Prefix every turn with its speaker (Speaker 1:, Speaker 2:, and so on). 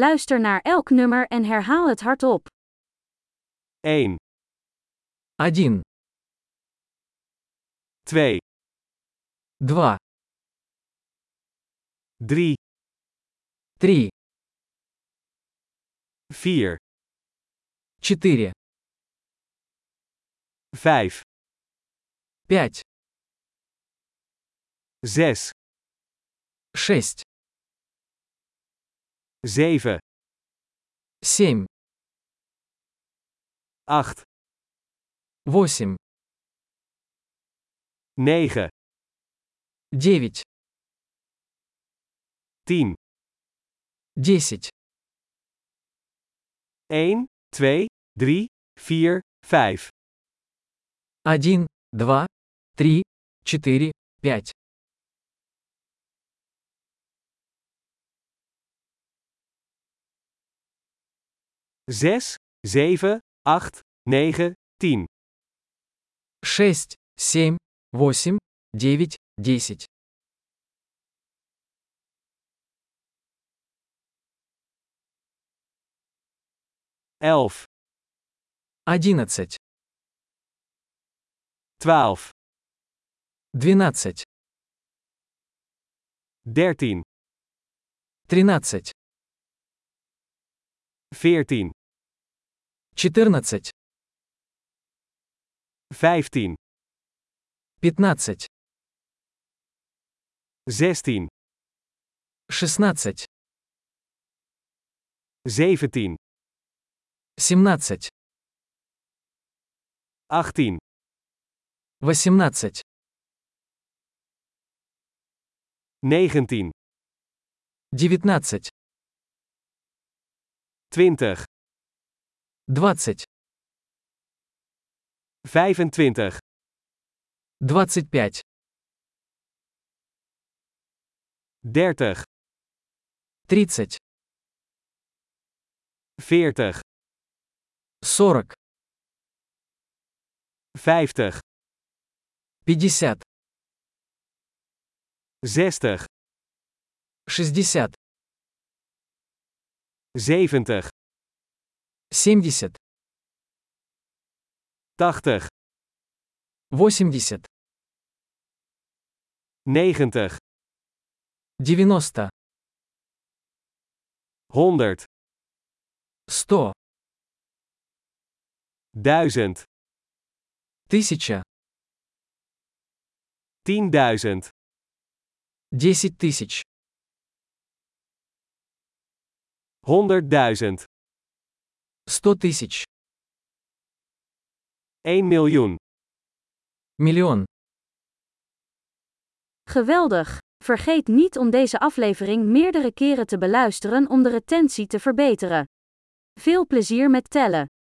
Speaker 1: Luister naar elk nummer en herhaal het hardop.
Speaker 2: 1,
Speaker 3: 1,
Speaker 2: 2,
Speaker 3: 2,
Speaker 2: 3,
Speaker 3: 3,
Speaker 2: 4,
Speaker 3: 4,
Speaker 2: 5,
Speaker 3: 5,
Speaker 2: 6,
Speaker 3: 6,
Speaker 2: 7,
Speaker 3: 7,
Speaker 2: 8,
Speaker 3: 8,
Speaker 2: 9,
Speaker 3: 9,
Speaker 2: 10,
Speaker 3: 10,
Speaker 2: 1, 2, 3, 4, 5,
Speaker 3: 1, 2, 3, 4, 5,
Speaker 2: 6, 7, 8, 9, 10,
Speaker 3: 6, 7, 8, 9, 10,
Speaker 2: 11,
Speaker 3: 11,
Speaker 2: 12,
Speaker 3: 12,
Speaker 2: 13,
Speaker 3: 13,
Speaker 2: 14,
Speaker 3: 14,
Speaker 2: 15,
Speaker 3: 15,
Speaker 2: 16,
Speaker 3: 16,
Speaker 2: 17,
Speaker 3: 17,
Speaker 2: 18,
Speaker 3: 18,
Speaker 2: 19,
Speaker 3: 19,
Speaker 2: 20, 25,
Speaker 3: 20, 25,
Speaker 2: 30,
Speaker 3: 30,
Speaker 2: 40,
Speaker 3: 40,
Speaker 2: 50,
Speaker 3: 50,
Speaker 2: 60,
Speaker 3: 60,
Speaker 2: 70, 80,
Speaker 3: 70, 80,
Speaker 2: 90,
Speaker 3: 90,
Speaker 2: 100,
Speaker 3: 100,
Speaker 2: 1000,
Speaker 3: 1000,
Speaker 2: 10.000,
Speaker 3: 10 тысяч,
Speaker 2: 100.000,
Speaker 3: 100 тысяч,
Speaker 2: 1 miljoen.
Speaker 3: миллион.
Speaker 1: Geweldig! Vergeet niet om deze aflevering meerdere keren te beluisteren om de retentie te verbeteren. Veel plezier met tellen!